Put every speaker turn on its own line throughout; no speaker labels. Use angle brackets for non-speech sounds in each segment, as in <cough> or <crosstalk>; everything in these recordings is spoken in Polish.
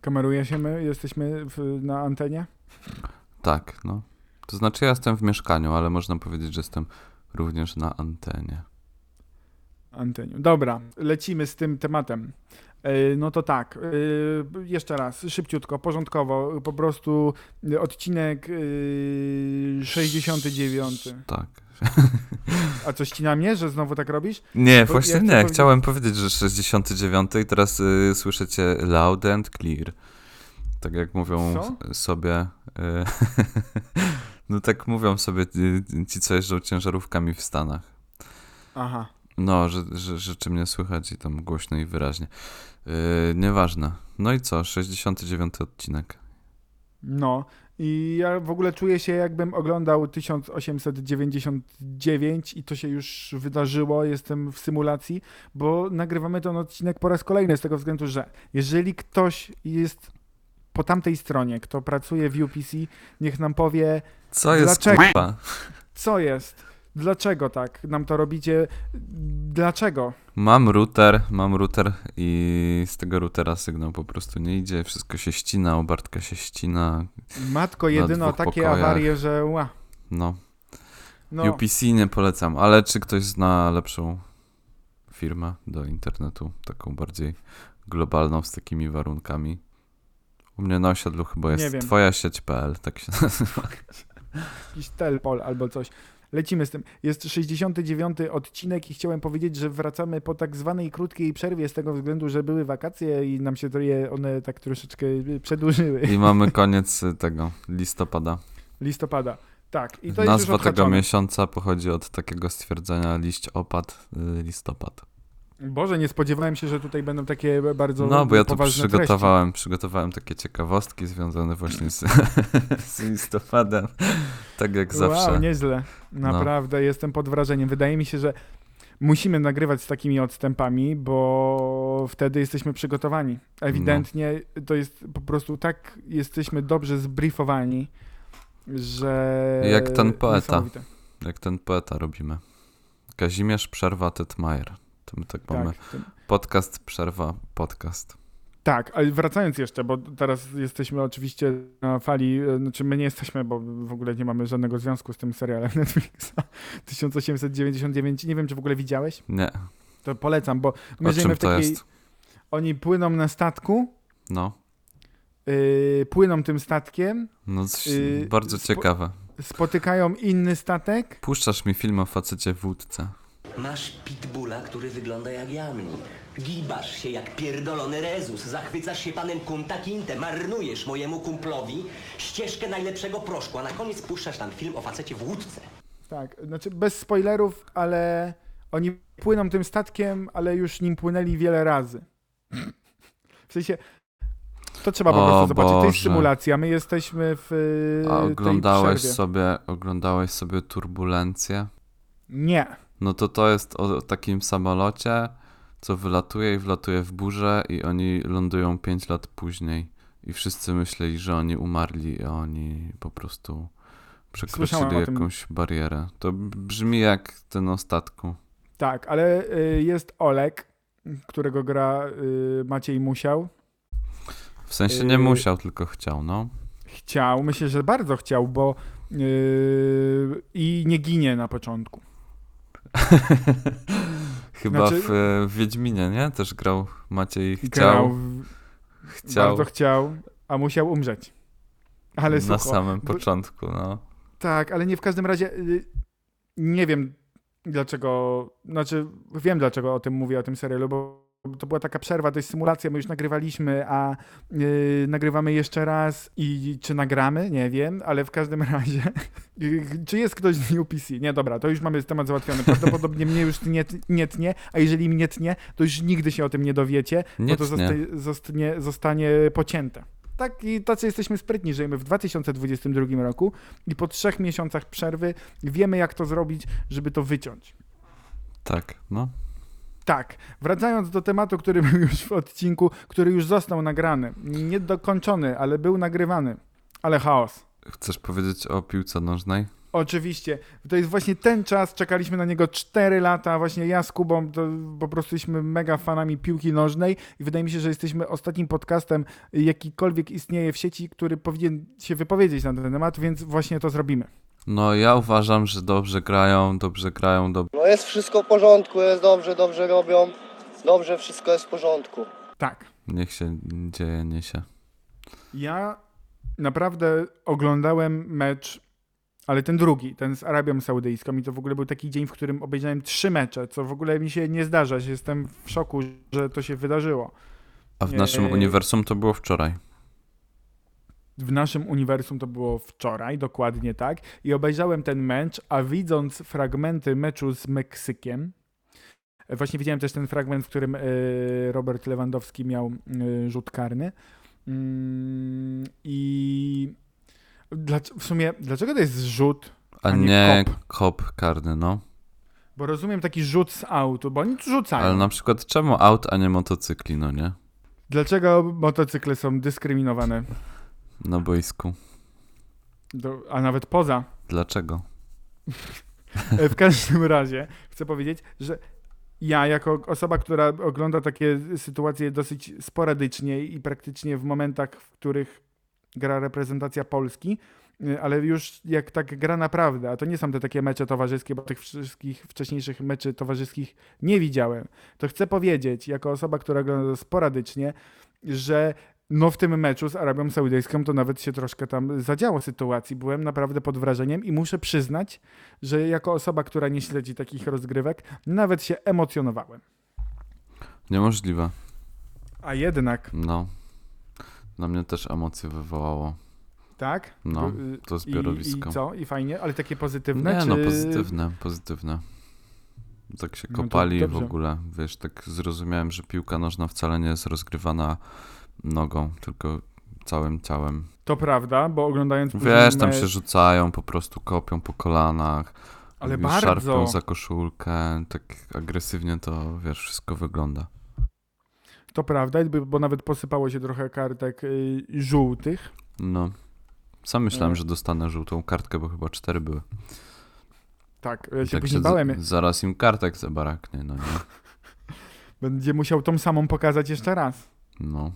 Kameruje się my? Jesteśmy w, na antenie?
Tak, no. To znaczy ja jestem w mieszkaniu, ale można powiedzieć, że jestem również na antenie.
Anteniu. Dobra, lecimy z tym tematem. Yy, No to tak, yy, jeszcze raz, szybciutko, porządkowo, po prostu yy, odcinek yy, 69.
Tak.
A coś ci na mnie, że znowu tak robisz?
Nie,
Bo
właśnie
ja chcę
nie.
powiedzieć-
Chciałem powiedzieć, że 69 i teraz y, słyszycie loud and clear. Tak jak mówią
Co?
s- sobie. Y, <laughs> no tak mówią sobie y, ci, co jeżdżą ciężarówkami w Stanach.
Aha,
No, że, że, że czy mnie słychać i tam głośno i wyraźnie. Yy, nieważne. No i co, 69 odcinek.
no. I ja w ogóle czuję się, jakbym oglądał 1899 i to się już wydarzyło, jestem w symulacji, bo nagrywamy ten odcinek po raz kolejny z tego względu, że jeżeli ktoś jest po tamtej stronie, kto pracuje w UPC, niech nam powie,
Co jest
Dlaczego?
kurwa?
Co jest? Dlaczego tak nam to robicie? Dlaczego?
Mam router, mam router i z tego routera sygnał po prostu nie idzie, wszystko się ścina, u Bartka się ścina,
Matko,
Na
jedyno
dwóch
takie
pokojach.
awarie, że ła.
no.
No,
UPC nie polecam, ale czy ktoś zna lepszą firmę do internetu, taką bardziej globalną, z takimi warunkami? U mnie na osiedlu chyba
Nie
jest
wiem.
twoja sieć.pl, tak się nazywa.
jakiś telpol albo coś. Lecimy z tym. Jest 69 odcinek i chciałem powiedzieć, że wracamy po tak zwanej krótkiej przerwie z tego względu, że były wakacje i nam się to je one tak troszeczkę y, przedłużyły.
I mamy koniec y, tego listopada.
Listopada. Tak, i to jest
Nazwa
już
tego
odhaczone.
miesiąca pochodzi od takiego stwierdzenia liść opad, y, listopad.
Boże, nie spodziewałem się, że tutaj będą takie bardzo
No, bo ja tu
poważne
przygotowałem, przygotowałem takie ciekawostki związane właśnie z, <laughs> z listopadem, tak jak zawsze. No.
Wow, nieźle. Naprawdę jestem pod wrażeniem. Wydaje mi się, że musimy nagrywać z takimi odstępami, bo wtedy jesteśmy przygotowani. Ewidentnie to jest po prostu tak, jesteśmy dobrze zbriefowani, że.
Jak ten poeta.
niesamowite.
Jak ten poeta robimy. Kazimierz Przerwa Tytmajer. To my tak, mamy.
Tak, ten-
Podcast Przerwa Podcast.
tak, ale wracając jeszcze, bo teraz jesteśmy oczywiście na fali, e, znaczy my nie jesteśmy, bo w ogóle nie mamy żadnego związku z tym serialem Netflixa <laughs> 1899. Nie wiem, czy w ogóle widziałeś,
Nie,
to polecam, bo my
o
żyjemy
czym
w
to
takiej.
jest?
Oni płyną na statku,
No,
yy, płyną tym statkiem,
no coś
Yy,
bardzo
spo-
ciekawe.
spotykają inny statek.
Puszczasz mi film o facecie w łódce.
Masz pitbulla, który wygląda jak jamni. Gibasz się jak pierdolony rezus, zachwycasz się panem Kuntakinte, marnujesz mojemu kumplowi ścieżkę najlepszego proszku, a na koniec puszczasz tam film o facecie w łódce.
Tak, znaczy bez spoilerów, ale oni płyną tym statkiem, ale już nim płynęli wiele razy. W sensie to trzeba po
O
prostu zobaczyć. To jest
Boże.
symulacja. My jesteśmy w yy,
A
tej
oglądałeś
przerwie.
sobie, oglądałeś sobie turbulencję?
Nie.
No to to jest o takim samolocie, co wylatuje i wlatuje w burzę i oni lądują 5 lat później. I wszyscy myśleli, że oni umarli, a oni po prostu przekroczyli
Słyszałem o tym.
jakąś barierę. To brzmi jak ten o statku.
Tak, ale yy, jest Olek, którego gra yy, Maciej Musiał.
W sensie nie
Yy.
musiał, tylko chciał,
<laughs>
no.
Chciał, myślę, że bardzo chciał, bo yy, i nie ginie na początku.
Chyba
Znaczy-
w, e, w Wiedźminie, nie? Też grał Maciej. Chciał,
Grał, w-
chciał
bardzo chciał, a musiał umrzeć. Ale sucho.
na samym
Bo-
początku, no.
Tak, ale nie w każdym razie y, nie wiem dlaczego, znaczy wiem dlaczego o tym mówię, o tym serialu, bo to była taka przerwa, to jest symulacja, my już nagrywaliśmy, a y, nagrywamy jeszcze raz i czy nagramy, nie wiem, ale w każdym <laughs> razie, y, czy jest ktoś z UPC? Nie, dobra, to już mamy temat załatwiony, prawdopodobnie mnie już nie, nie tnie, a jeżeli mnie tnie, to już nigdy się o tym nie dowiecie,
Nie
bo to
tnie.
zosta- zostanie, zostanie pocięte. Tak, i tacy jesteśmy sprytni, żyjemy w 2022 roku i po trzech miesiącach przerwy wiemy, jak to zrobić, żeby to wyciąć.
Tak, no.
Tak, wracając do tematu, który był już w odcinku, który już został nagrany, niedokończony, ale był nagrywany, ale chaos.
Chcesz powiedzieć o piłce nożnej?
Oczywiście. To jest właśnie ten czas, czekaliśmy na niego 4 lata. Właśnie ja z Kubą to po prostu jesteśmy mega fanami piłki nożnej i wydaje mi się, że jesteśmy ostatnim podcastem, jakikolwiek istnieje w sieci, który powinien się wypowiedzieć na ten temat, więc właśnie to zrobimy.
No ja uważam, że dobrze grają, dobrze grają, dobrze.
No jest wszystko w porządku, jest dobrze, dobrze robią. Dobrze, wszystko jest w porządku.
Tak.
Niech się dzieje, nie się.
Ja naprawdę oglądałem mecz, ale ten drugi, ten z Arabią Saudyjską i to w ogóle był taki dzień, w którym obejrzałem trzy mecze, co w ogóle mi się nie zdarza. Jestem w szoku, że to się wydarzyło.
A w
Nie.
naszym uniwersum to było wczoraj.
w naszym uniwersum to było wczoraj, dokładnie tak, i obejrzałem ten mecz, a widząc fragmenty meczu z Meksykiem, e, właśnie widziałem też ten fragment, w którym y, Robert Lewandowski miał y, rzut karny. Mm, I dlac- w sumie, dlaczego to jest zrzut?
A,
A nie
nie, kop. karny, no.
Bo rozumiem taki rzut z autu, bo oni rzucają.
Ale no- na przykład czemu aut, a nie motocykli, no nie?
Dlaczego motocykle są dyskryminowane,
Na boisku.
Do, a nawet poza?
Dlaczego?
E, <laughs> W każdym razie chcę powiedzieć, że ja, jako osoba, która ogląda takie sytuacje dosyć sporadycznie i praktycznie w momentach, w których gra reprezentacja Polski, y, ale już jak tak gra naprawdę, a to nie są te takie mecze towarzyskie, bo tych wszystkich wcześniejszych meczy towarzyskich nie widziałem, to chcę powiedzieć, jako osoba, która ogląda to sporadycznie, że no w tym meczu z Arabią Saudyjską to nawet się troszkę tam zadziało sytuacji. Byłem naprawdę pod wrażeniem i muszę przyznać, że jako osoba, która nie śledzi takich rozgrywek, nawet się emocjonowałem.
Niemożliwe.
A jednak,
No. Na mnie też emocje wywołało.
tak?
No,
Y,
to
i-
zbiorowisko.
I co? I fajnie? Ale takie pozytywne?
Nie,
czy...
no pozytywne, pozytywne. Tak się
No to
kopali w
dobrze.
ogóle, wiesz, tak zrozumiałem, że piłka nożna wcale nie jest rozgrywana nogą, tylko całym ciałem.
To prawda, bo oglądając... później
Wiesz, tam się
mecz-
rzucają, po prostu kopią po kolanach,
Ale
i
bardzo.
szarpią za koszulkę, tak agresywnie to, wiesz, wszystko wygląda.
To prawda, jakby- bo nawet posypało się trochę kartek y, żółtych.
No. Sam myślałem,
E.
że dostanę żółtą kartkę, bo chyba cztery były.
Tak, ja się
Także
później
z-
bałem.
zaraz im kartek zabaraknie, no nie?
Będzie musiał tą samą pokazać jeszcze raz.
No.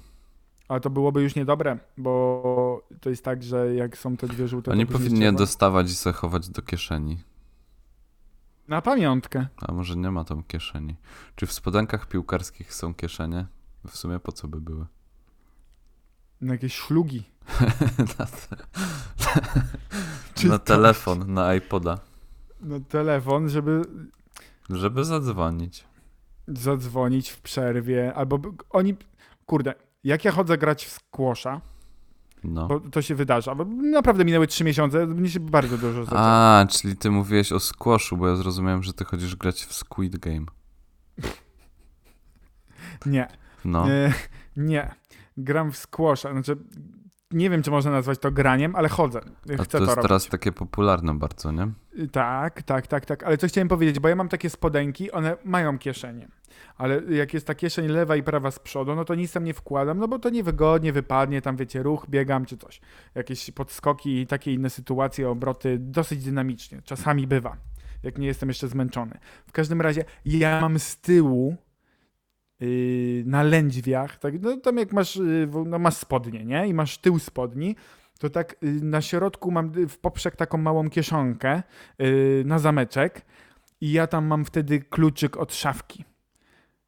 A to byłoby już niedobre, bo to jest tak, że jak są te dwie żółte... to
Oni
później
powinni
trzeba-
dostawać i zachować do kieszeni.
Na pamiątkę.
A może nie ma tam kieszeni? Czy w spodenkach piłkarskich są kieszenie? W sumie po co by były? <laughs>
Na jakieś szlugi.
na, te,
Czy tak?
na
to-
telefon, na iPoda.
Na telefon, żeby
Żeby zadzwonić.
zadzwonić w przerwie, albo b- oni, kurde, jak ja chodzę grać w squasha,
No.
bo to się wydarza, bo naprawdę minęły trzy miesiące, mnie się bardzo dużo zadziało.
A, czyli ty mówiłeś o squashu, bo ja zrozumiałem, że ty chodzisz grać w Squid Game.
Nie,
No.
e, nie, gram w squasha, znaczy nie wiem, czy można nazwać to graniem, ale chodzę,
A
chcę
to
to,
jest
robić.
teraz takie popularne bardzo, nie?
Tak, tak, tak, tak, ale co chciałem powiedzieć, bo ja mam takie spodenki, one mają kieszenie. Ale jak jest ta kieszeń lewa i prawa z przodu, no to nic tam nie wkładam, no bo to niewygodnie wypadnie, tam wiecie, ruch, biegam czy coś. Jakieś podskoki i takie inne sytuacje, obroty dosyć dynamicznie. Czasami bywa, jak nie jestem jeszcze zmęczony. W każdym razie ja mam z tyłu yy, na lędźwiach, tak, no tam jak masz, yy, w- no masz spodnie, nie? I masz tył spodni, to tak yy, na środku mam yy, w poprzek taką małą kieszonkę yy, na zameczek i ja tam mam wtedy kluczyk od szafki.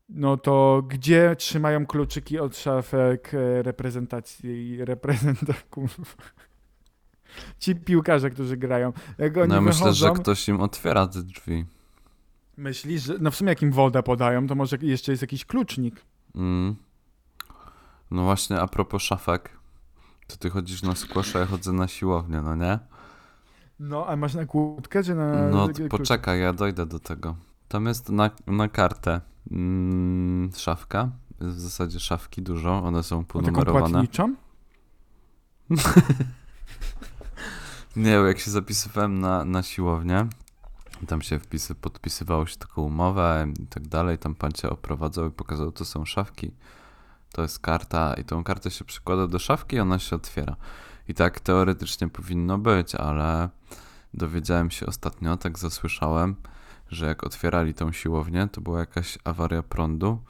No to gdzie trzymają kluczyki od szafek e, reprezentacji, reprezenta, kurwa. <laughs> Ci piłkarze, którzy grają. Jak oni
No ja myślę, że
wychodzą,
ktoś im otwiera te drzwi.
Myślisz, że no w sumie jak im wodę podają, to może jeszcze jest jakiś klucznik.
Mm. No właśnie, a propos szafek. To ty chodzisz na squasha, ja chodzę na siłownię, no nie?
No, a masz na kłódkę, czy na...
No
klucz-
poczekaj, ja dojdę do tego. Tam jest na, na kartę mm, szafka. Jest w zasadzie szafki dużo, one są
A taką
ponumerowane.
płatniczą?
Nie, jak się zapisywałem na, na siłownię, tam się wpisy, podpisywało się taką umowę i tak dalej, tam pan cię oprowadzał i pokazał, to są szafki, to jest karta i tą kartę się przykłada do szafki i ona się otwiera. I tak teoretycznie powinno być, ale Dowiedziałem się ostatnio, tak zasłyszałem, że jak otwierali tą siłownię, to była jakaś awaria prądu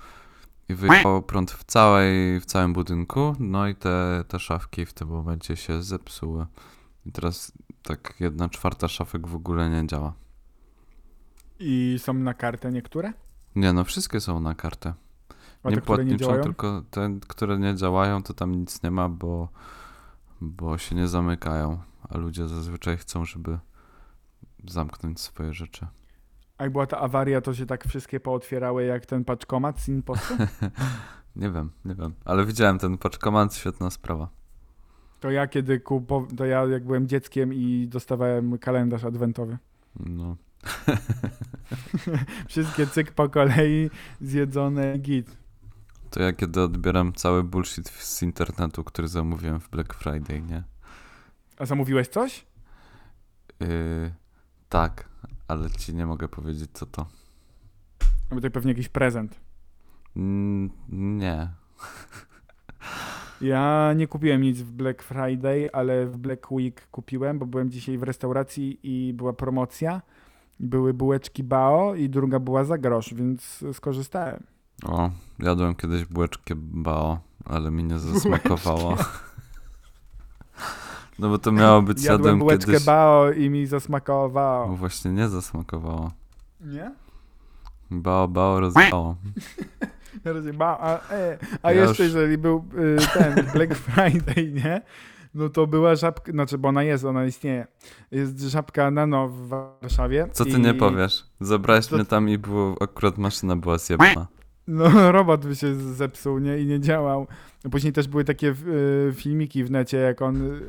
i wyjechał prąd w, całej, w całym budynku, no i te, te szafki w tym momencie się zepsuły. I teraz tak jedna czwarta szafek w ogóle nie działa.
I są na kartę niektóre?
Nie, no wszystkie są na kartę.
A
nie
te, które nie
płatniczą,
działają?
tylko te, które nie działają, to tam nic nie ma, bo, bo się nie zamykają, a ludzie zazwyczaj chcą, żeby zamknąć swoje rzeczy.
A jak była ta awaria, to się tak wszystkie pootwierały jak ten paczkomat z
<laughs>
Inpostu?
Nie wiem, nie wiem, ale widziałem ten paczkomat, świetna sprawa.
To ja kiedy kupo, to ja jak byłem dzieckiem i dostawałem kalendarz adwentowy.
No,
Wszystkie cyk po kolei, zjedzone git.
to ja kiedy odbieram cały bullshit w- z internetu, który zamówiłem w Black Friday, nie?
A zamówiłeś coś?
Yy, tak, ale ci nie mogę powiedzieć, co to.
No bo to pewnie jakiś prezent.
Mm, nie,
Ja nie kupiłem nic w Black Friday, ale w Black Week kupiłem, bo byłem dzisiaj w restauracji i była promocja. Były bułeczki Bao i druga była za grosz, więc skorzystałem.
O, jadłem kiedyś bułeczkę bao, ale mi nie zasmakowało. No bo to miało być
Jadłem
jadłem
bułeczkę
kiedyś.
Bao i mi zasmakowało.
No Właśnie nie zasmakowało.
Nie?
Bao, bao, rozbało.
Teraz ba, a e, a
Ja
jeszcze
już-
jeżeli był y, ten
<laughs>
Black Friday, nie? No to była żabka, znaczy bo ona jest, ona istnieje. Jest żabka nano w Warszawie.
Co ty
i-
nie powiesz? Zabrałeś
To-
mnie tam i było, akurat maszyna była zjebana.
No <laughs> robot by się zepsuł, nie? I nie działał. No, Później też były takie y, filmiki w necie, jak on y,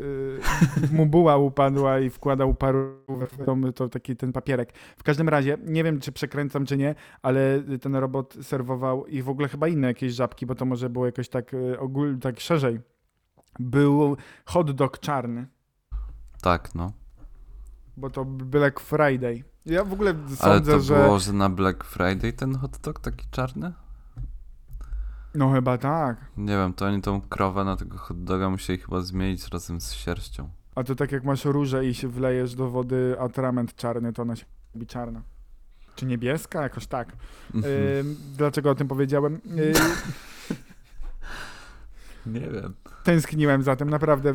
<laughs> mu buła upadła i wkładał parówkę w tą- to taki ten papierek. W każdym razie, nie wiem czy przekręcam czy nie, ale ten robot serwował i w ogóle chyba inne jakieś żabki, bo to może było jakoś tak y, ogól, tak szerzej. Był hot dog czarny,
Tak, no.
bo to Black Friday. Ja w ogóle
Ale
sądzę,
to
że...
było, że na Black Friday ten hot dog taki czarny?
No chyba tak.
Nie wiem, to oni tą krowę na tego hot doga musieli chyba zmienić razem z sierścią.
A to tak jak masz różę i się wlejesz do wody atrament czarny, to ona się robi czarna. Czy niebieska? Jakoś tak.
Mhm.
Ym, dlaczego o tym powiedziałem? Yy,
<laughs> Nie wiem.
tęskniłem za tym, naprawdę.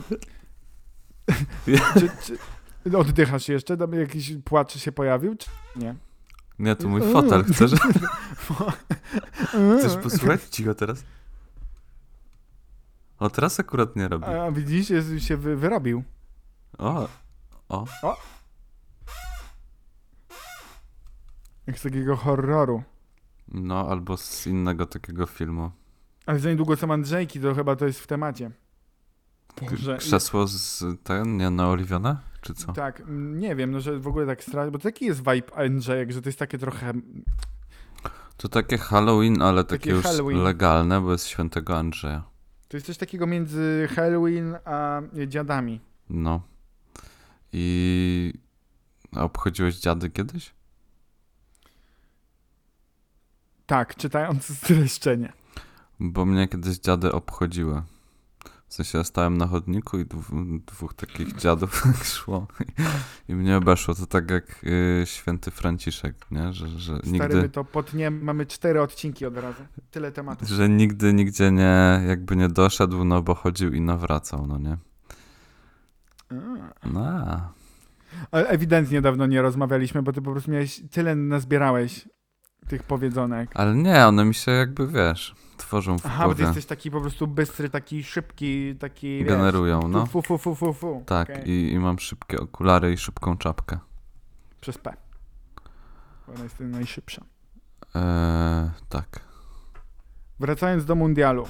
czy, czy, oddychasz jeszcze? Tam jakiś płacz się pojawił? Czy nie?
Nie, to No mój
Mm. <laughs>
fotel. Chcesz, chcesz posłuchać? Cicho teraz. O, teraz akurat nie robi.
A widzisz, jest, się wy, wyrobił.
O, o.
Jak z takiego horroru.
No, albo z innego takiego filmu.
Ale za niedługo są Andrzejki, to chyba to jest w temacie. Boże, i-
Krzesło z ten, nie naoliwione? Czy co?
Tak, mm, nie wiem, no że w ogóle tak strasznie, bo to taki jest vibe Andrzejek, że to jest takie trochę
To takie Halloween, ale takie,
Takie
już
Halloween.
legalne, bo jest świętego Andrzeja.
To jest coś takiego między Halloween a dziadami.
No. I. A obchodziłeś dziady kiedyś?
Tak, czytając <laughs> streszczenie.
Bo mnie kiedyś dziady obchodziły. W sensie ja stałem na chodniku i dwó- dwóch takich dziadów <laughs> szło i mnie obeszło. To tak jak y, święty Franciszek, nie? Że, że
Stary, my
nigdy,
to potniemy, mamy cztery odcinki od razu. Tyle tematów.
że nigdy nigdzie nie, jakby nie doszedł, no bo chodził i nawracał, no nie? No, a,
Ale ewidentnie dawno nie rozmawialiśmy, bo ty po prostu miałeś, tyle nazbierałeś tych powiedzonek.
ale nie, one mi się jakby, wiesz, tworzą w
Aha, bo ty
głowie,
jesteś taki po prostu bystry, taki szybki, taki... wiesz,
generują, no.
Fu, fu, fu, fu, fu.
Tak,
Okej.
i, i mam szybkie okulary i szybką czapkę.
Przez P. Bo Ona jest najszybsza.
Eee, tak.
Wracając do mundialu.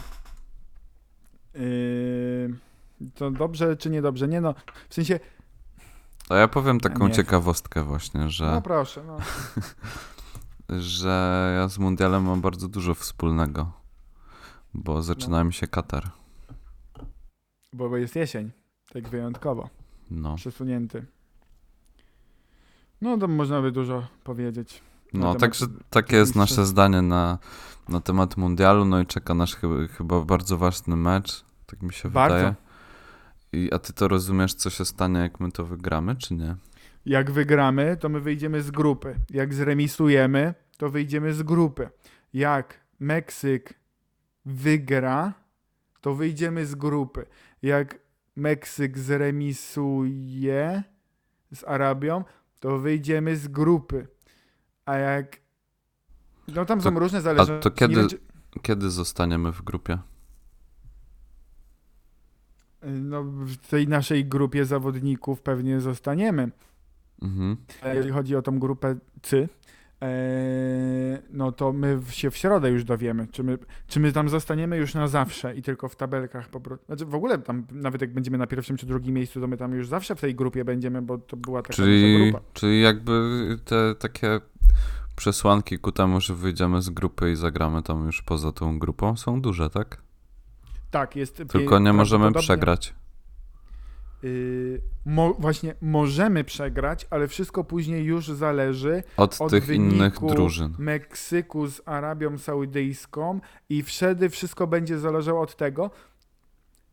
Yy, to dobrze czy niedobrze? Nie no, w sensie,
A ja powiem taką
Nie.
ciekawostkę właśnie, że...
no proszę, no.
że ja z Mundialem mam bardzo dużo wspólnego, bo zaczyna
No.
mi się Katar.
Bo bo jest jesień, tak wyjątkowo,
No,
przesunięty. No to można by dużo powiedzieć. na
no
temat-
także takie jest
oczywiście.
nasze zdanie na, na temat Mundialu, no i czeka nas chyba, chyba bardzo ważny mecz, tak mi się
Bardzo.
wydaje. I, a ty to rozumiesz, co się stanie, jak my to wygramy, czy nie?
Jak wygramy, to my wyjdziemy z grupy. Jak zremisujemy, to wyjdziemy z grupy. Jak Meksyk wygra, to wyjdziemy z grupy. Jak Meksyk zremisuje z Arabią, to wyjdziemy z grupy. A jak. No tam są
To-
różne
A
zależności.
to kiedy,
Nie wiem, czy-
kiedy zostaniemy w grupie?
No, w tej naszej grupie zawodników pewnie zostaniemy.
Mhm.
E, Jeżeli chodzi o tą grupę C, e, no to my w- się w środę już dowiemy, czy my, czy my tam zostaniemy już na zawsze i tylko w tabelkach po prostu. Znaczy w ogóle tam, nawet jak będziemy na pierwszym czy drugim miejscu, to my tam już zawsze w tej grupie będziemy, bo to była taka nasza
Czyli,
grupa.
czyli jakby te takie przesłanki ku temu, że wyjdziemy z grupy i zagramy tam już poza tą grupą są duże, tak?
Tak, jest. pie-
Tylko nie możemy
prawdopodobnie-
przegrać.
Y, mo, właśnie możemy przegrać, ale wszystko później już zależy
Od,
od
tych
wyniku
innych drużyn.
Meksyku z Arabią Saudyjską i wtedy wszystko będzie zależało od tego,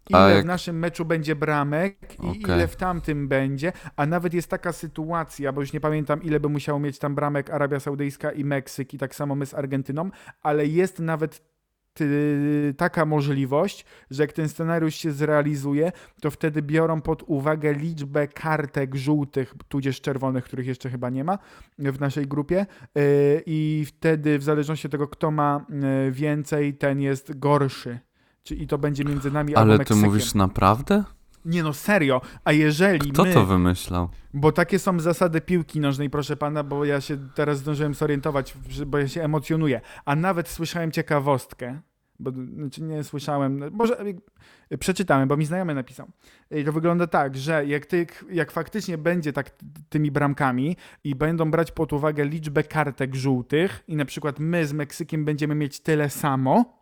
ile
A jak-
w naszym meczu będzie bramek i
Okej.
ile w tamtym będzie, a nawet jest taka sytuacja, bo już nie pamiętam ile by musiało mieć tam bramek Arabia Saudyjska i Meksyk i tak samo my z Argentyną, ale jest nawet ty, taka możliwość, że jak ten scenariusz się zrealizuje, to wtedy biorą pod uwagę liczbę kartek żółtych, tudzież czerwonych, których jeszcze chyba nie ma e, w naszej grupie yy, i wtedy w zależności od tego, kto ma yy, więcej, ten jest gorszy. Czy I to będzie między nami albo
Ale ty
Meksykiem.
mówisz naprawdę?
Nie no, serio. A jeżeli
Kto
my...
to wymyślał?
Bo takie są zasady piłki nożnej, proszę pana, bo ja się teraz zdążyłem zorientować, że- bo ja się emocjonuję. A nawet słyszałem ciekawostkę, bo znaczy nie słyszałem, no, może y, przeczytałem, bo mi znajomy napisał. Y, To wygląda tak, że jak, ty, jak faktycznie będzie tak tymi bramkami i będą brać pod uwagę liczbę kartek żółtych i na przykład my z Meksykiem będziemy mieć tyle samo,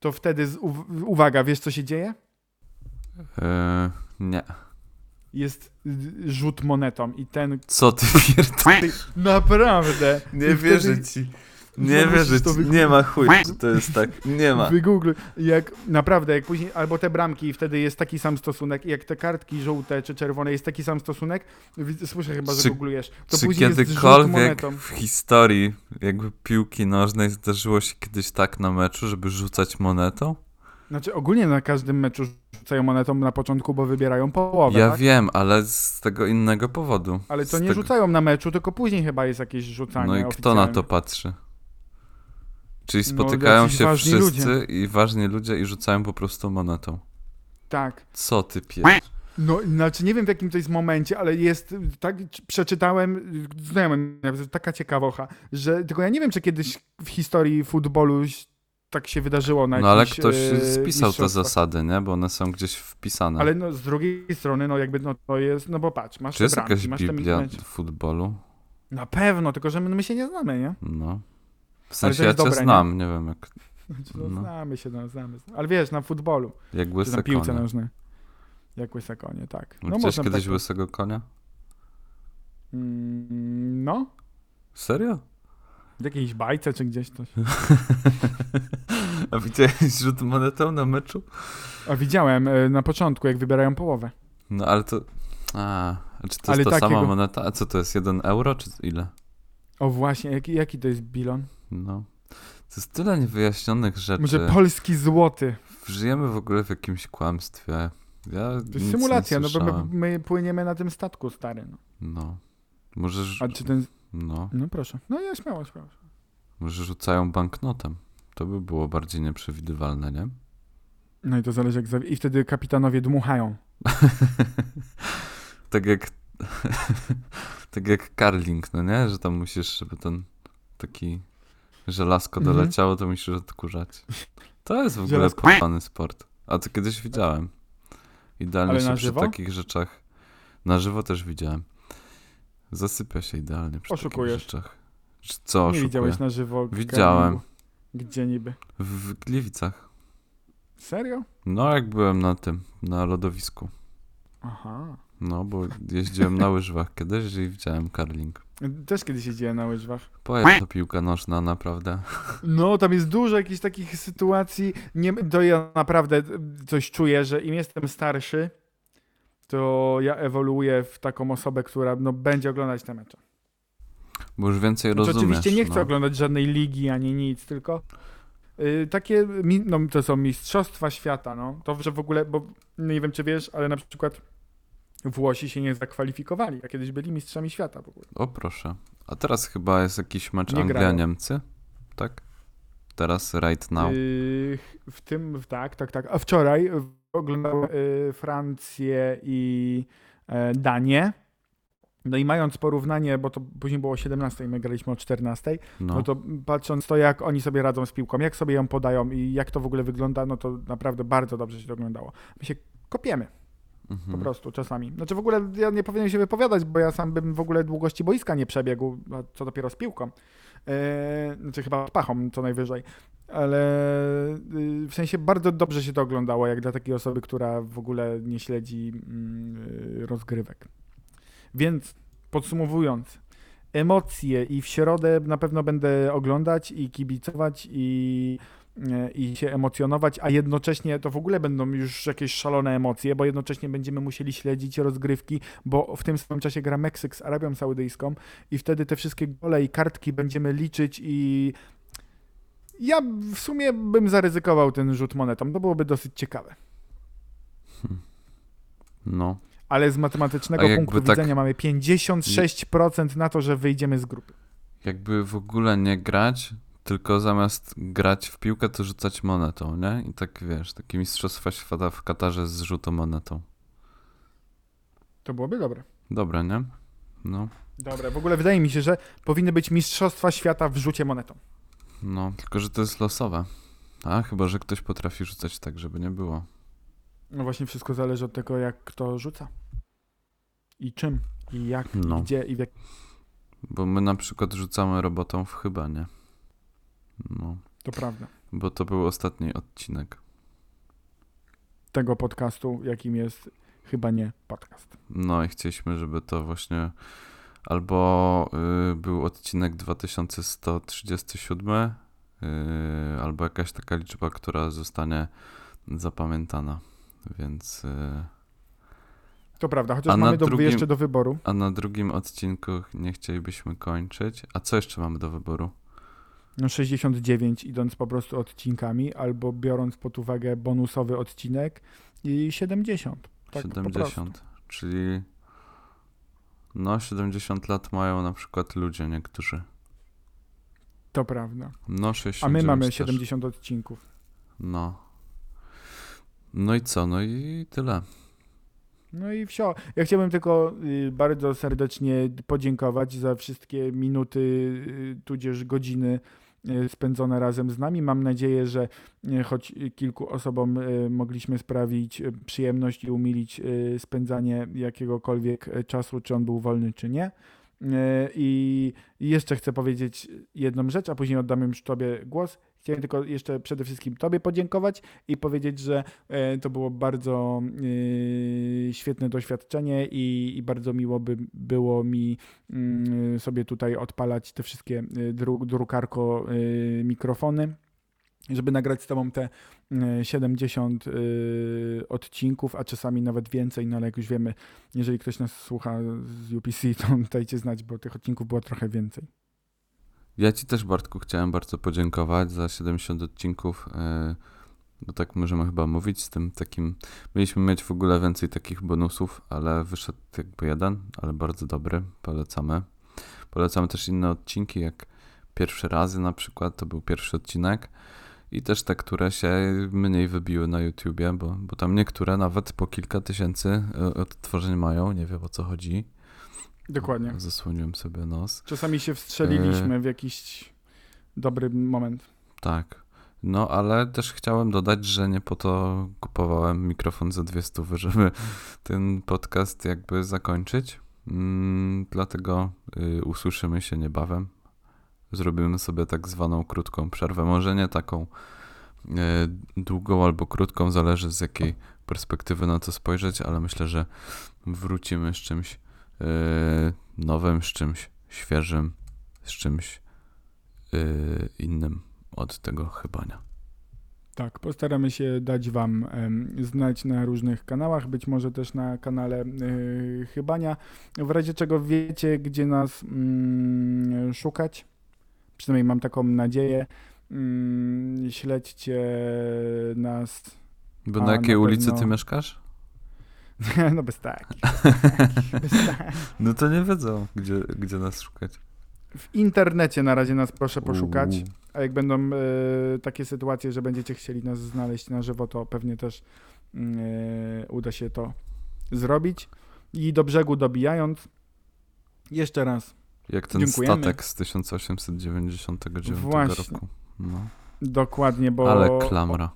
to wtedy, z, uw- uwaga, wiesz co się dzieje?
Yy, nie.
Jest y, rzut monetą i ten,
Co ty <laughs> pierdolisz?
Naprawdę.
Nie wierzę ci. Nie
musisz
wierzę
to
ci.
wyku-
Nie ma chuj, że to jest tak. Nie ma.
Wygoogluj. Jak naprawdę, jak później, albo te bramki i wtedy jest taki sam stosunek, i jak te kartki żółte czy czerwone jest taki sam stosunek, wi- słyszę chyba, że
Czy-
googlujesz, to
Czy
później jest rzut
kiedykolwiek
monetą.
w historii jakby piłki nożnej zdarzyło się kiedyś tak na meczu, żeby rzucać monetą?
Znaczy ogólnie na każdym meczu rzucają monetą na początku, bo wybierają połowę,
Ja
tak?
wiem, ale z tego innego powodu.
Ale to
Z
nie
tego...
rzucają na meczu, tylko później chyba jest jakieś rzucanie
No i kto na
oficjalne.
to patrzy? Czyli
No,
spotykają
jacyś
się
ważni
wszyscy
ludzie.
i ważni ludzie i rzucają po prostu monetą.
Tak.
Co ty pierdolisz?
No, znaczy nie wiem w jakim to jest momencie, ale jest, tak czy- przeczytałem, y, znajomym, napisał, taka ciekawocha, że tylko ja nie wiem, czy kiedyś w historii futbolu ś- tak się wydarzyło na
No ale
jakichś,
ktoś
e,
spisał te
mistrzostwach.
zasady, nie? Bo one są gdzieś wpisane.
Ale no, z drugiej strony, no jakby no, to jest, no bo patrz, masz
Czy jest
te bramki,
jakaś
masz
Biblia
ten mecz.
futbolu?
Na pewno, tylko że my, my się nie znamy, nie?
No. W sensie
to
ja
jest
cię
dobre, nie?
znam, nie? wiem jak,
Znaczy, no,
No.
Znamy się, no, znamy. Ale wiesz, na futbolu,
jak
czy na
łyse
piłce
konie.
nożnej. Jak łyse konie, tak. No,
Widziałeś
można
kiedyś
tak...
łysego konia?
Mm, no,
Serio?
w jakiejś bajce czy gdzieś coś.
A widziałeś rzut monetą na meczu?
A widziałem e, na początku, jak wybierają połowę.
No ale to... A, a czy to
Ale
jest ta sama
takiego-
moneta? A co to jest, jeden euro czy ile?
O właśnie, jaki, jaki to jest bilon?
No. To jest tyle niewyjaśnionych rzeczy.
Może polski złoty.
Żyjemy w ogóle w jakimś kłamstwie. Ja
To jest symulacja,
nie
no bo my,
słyszałem.
my płyniemy na tym statku, stary. No.
No. Może, rzu-
A czy ten...
no.
No proszę. No ja śmiało, śmiało.
Może rzucają banknotem. To by było bardziej
<laughs>
nieprzewidywalne, nie?
No i to zależy jak... zawi- I wtedy kapitanowie dmuchają.
tak jak <laughs> tak jak karling, no nie? Że tam musisz, żeby ten taki żelazko
Mhm.
doleciało, to musisz odkurzać. To jest w ogóle
Żelazko.
porwany sport. A to kiedyś widziałem. Idealnie
Ale
się
na
przy
żywo?
takich rzeczach na żywo też widziałem. Zasypia się idealnie przy
Oszukujesz.
takich rzeczach. Czy Co
Nie
oszukuję?
widziałeś na żywo.
Widziałem.
Karlingu? Gdzie niby?
W Gliwicach.
Serio?
No jak byłem na tym, na lodowisku.
Aha.
No bo jeździłem na łyżwach kiedyś i widziałem karling.
Też kiedyś jeździłem na łyżwach.
Pojazd to piłka nożna, naprawdę.
No, tam jest dużo jakichś takich sytuacji. Nie, to ja naprawdę coś czuję, że im jestem starszy, to ja ewoluuję w taką osobę, która no, będzie oglądać te mecze.
Bo już więcej
Znaczy,
rozumiesz.
oczywiście nie chcę
no.
oglądać żadnej ligi ani nic, tylko y, takie, mi- no to są mistrzostwa świata, no. To, że w ogóle, bo nie wiem, czy wiesz, ale na przykład Włosi się nie zakwalifikowali, a kiedyś byli mistrzami świata w ogóle.
O proszę. A teraz chyba jest jakiś mecz
Nie grają.
Anglia-Niemcy, tak? Teraz right now.
Y, w tym, w- tak, tak, tak. A wczoraj oglądałem y, Francję i e, Danię. No i mając porównanie, bo to później było o 17, my graliśmy o 14,
No.
no. to patrząc to, jak oni sobie radzą z piłką, jak sobie ją podają i jak to w ogóle wygląda, no to naprawdę bardzo dobrze się to oglądało. My się kopiemy po
mhm.
prostu czasami. Znaczy w ogóle ja nie powinienem się wypowiadać, bo ja sam bym w ogóle długości boiska nie przebiegł, a co dopiero z piłką. Yy, znaczy chyba pachą co najwyżej. Ale yy, w sensie bardzo dobrze się to oglądało, jak dla takiej osoby, która w ogóle nie śledzi yy, rozgrywek. Więc podsumowując, emocje i w środę na pewno będę oglądać i kibicować i, e, i się emocjonować, a jednocześnie to w ogóle będą już jakieś szalone emocje, bo jednocześnie będziemy musieli śledzić rozgrywki, bo w tym samym czasie gra Meksyk z Arabią Saudyjską i wtedy te wszystkie gole i kartki będziemy liczyć i ja w sumie bym zaryzykował ten rzut monetą, to byłoby dosyć ciekawe.
no.
Ale z
A
matematycznego
jakby
punktu
tak-
widzenia mamy 56% na to, że wyjdziemy z grupy.
Jakby w ogóle nie grać, tylko zamiast grać w piłkę, to rzucać monetą, nie? I tak wiesz, takie mistrzostwa świata w Katarze z rzutą monetą.
To byłoby dobre.
Dobra, nie? No,
Dobra, w ogóle wydaje mi się, że powinny być mistrzostwa świata w rzucie monetą.
no, tylko że to jest losowe. A, chyba, że ktoś potrafi rzucać tak, żeby nie było.
No właśnie wszystko zależy od tego, jak kto rzuca. I czym, i jak,
No.
i gdzie, i w jak...
Bo my na przykład rzucamy robotą w chyba, nie? No,
To prawda.
bo to był ostatni odcinek.
Tego podcastu, jakim jest chyba nie podcast.
No i chcieliśmy, żeby to właśnie albo y, był odcinek 2137, y, albo jakaś taka liczba, która zostanie zapamiętana. Więc. Y,
To prawda, chociaż
A na
mamy do,
drugim-
jeszcze do wyboru.
a na drugim odcinku nie chcielibyśmy kończyć. A co jeszcze mamy do wyboru?
No 69 idąc po prostu odcinkami, albo biorąc pod uwagę bonusowy odcinek i 70. Tak, Po prostu.
70. Czyli. No, 70 lat mają na przykład ludzie niektórzy.
To prawda.
No, 69
A my mamy
też.
70 odcinków.
No. No i co? No i tyle.
No i wsio. Ja chciałbym tylko y, bardzo serdecznie podziękować za wszystkie minuty, y, tudzież godziny y, spędzone razem z nami. Mam nadzieję, że y, choć kilku osobom y, mogliśmy sprawić y, przyjemność i umilić y, spędzanie jakiegokolwiek y, czasu, czy on był wolny, czy nie. Y, I jeszcze chcę powiedzieć jedną rzecz, a później oddam już Tobie głos. Chciałem tylko jeszcze przede wszystkim Tobie podziękować i powiedzieć, że E, To było bardzo y, świetne doświadczenie i, i bardzo miło by było mi mm, sobie tutaj odpalać te wszystkie y, dru, drukarko y, mikrofony, żeby nagrać z Tobą te y, 70 y, odcinków, a czasami nawet więcej, no ale jak już wiemy, jeżeli ktoś nas słucha z UPC, to <laughs> dajcie znać, bo tych odcinków było trochę więcej.
Ja Ci też, Bartku, chciałem bardzo podziękować za 70 odcinków. e, Bo tak możemy chyba mówić z tym takim. Mieliśmy mieć w ogóle więcej takich bonusów, ale wyszedł jakby jeden, ale bardzo dobry. Polecamy. Polecamy też inne odcinki, jak pierwszy razy na przykład, to był pierwszy odcinek. I też te, które się mniej wybiły na YouTubie, bo, bo tam niektóre nawet po kilka tysięcy e, odtworzeń mają. Nie wiem o co chodzi.
Dokładnie.
Zasłoniłem sobie nos.
Czasami się wstrzeliliśmy w jakiś dobry moment.
Tak. No, ale też chciałem dodać, że nie po to kupowałem mikrofon za dwie stówy, żeby ten podcast jakby zakończyć. Mm, dlatego y, usłyszymy się niebawem. Zrobimy sobie tak zwaną krótką przerwę. Może nie taką y, długą albo krótką, zależy z jakiej perspektywy na to spojrzeć, ale myślę, że wrócimy z czymś y, nowym, z czymś świeżym, z czymś y, innym od tego chybania.
Tak, postaramy się dać Wam em, znać na różnych kanałach, być może też na kanale y, Chybania. W razie czego wiecie, gdzie nas mm, szukać. Przynajmniej mam taką nadzieję. Mm, śledźcie nas. <laughs>
Bo
A,
na
na
jakiej ulicy ty
pewno. <laughs>
mieszkasz?
No bez tak.
No to nie wiedzą, gdzie, gdzie nas szukać.
W internecie na razie nas proszę poszukać.
Uuu.
A jak będą e, takie sytuacje, że będziecie chcieli nas znaleźć na żywo, to pewnie też mm, e, uda się to zrobić. I do brzegu dobijając, jeszcze raz
Jak ten
Dziękujemy.
statek z 1899
Właśnie.
roku. No.
dokładnie, bo
Ale klamra.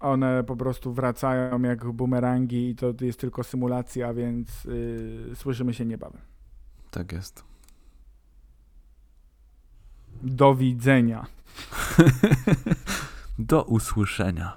one po prostu wracają jak bumerangi i to jest tylko symulacja, więc y, słyszymy się niebawem.
Tak jest.
Do widzenia.
Do usłyszenia.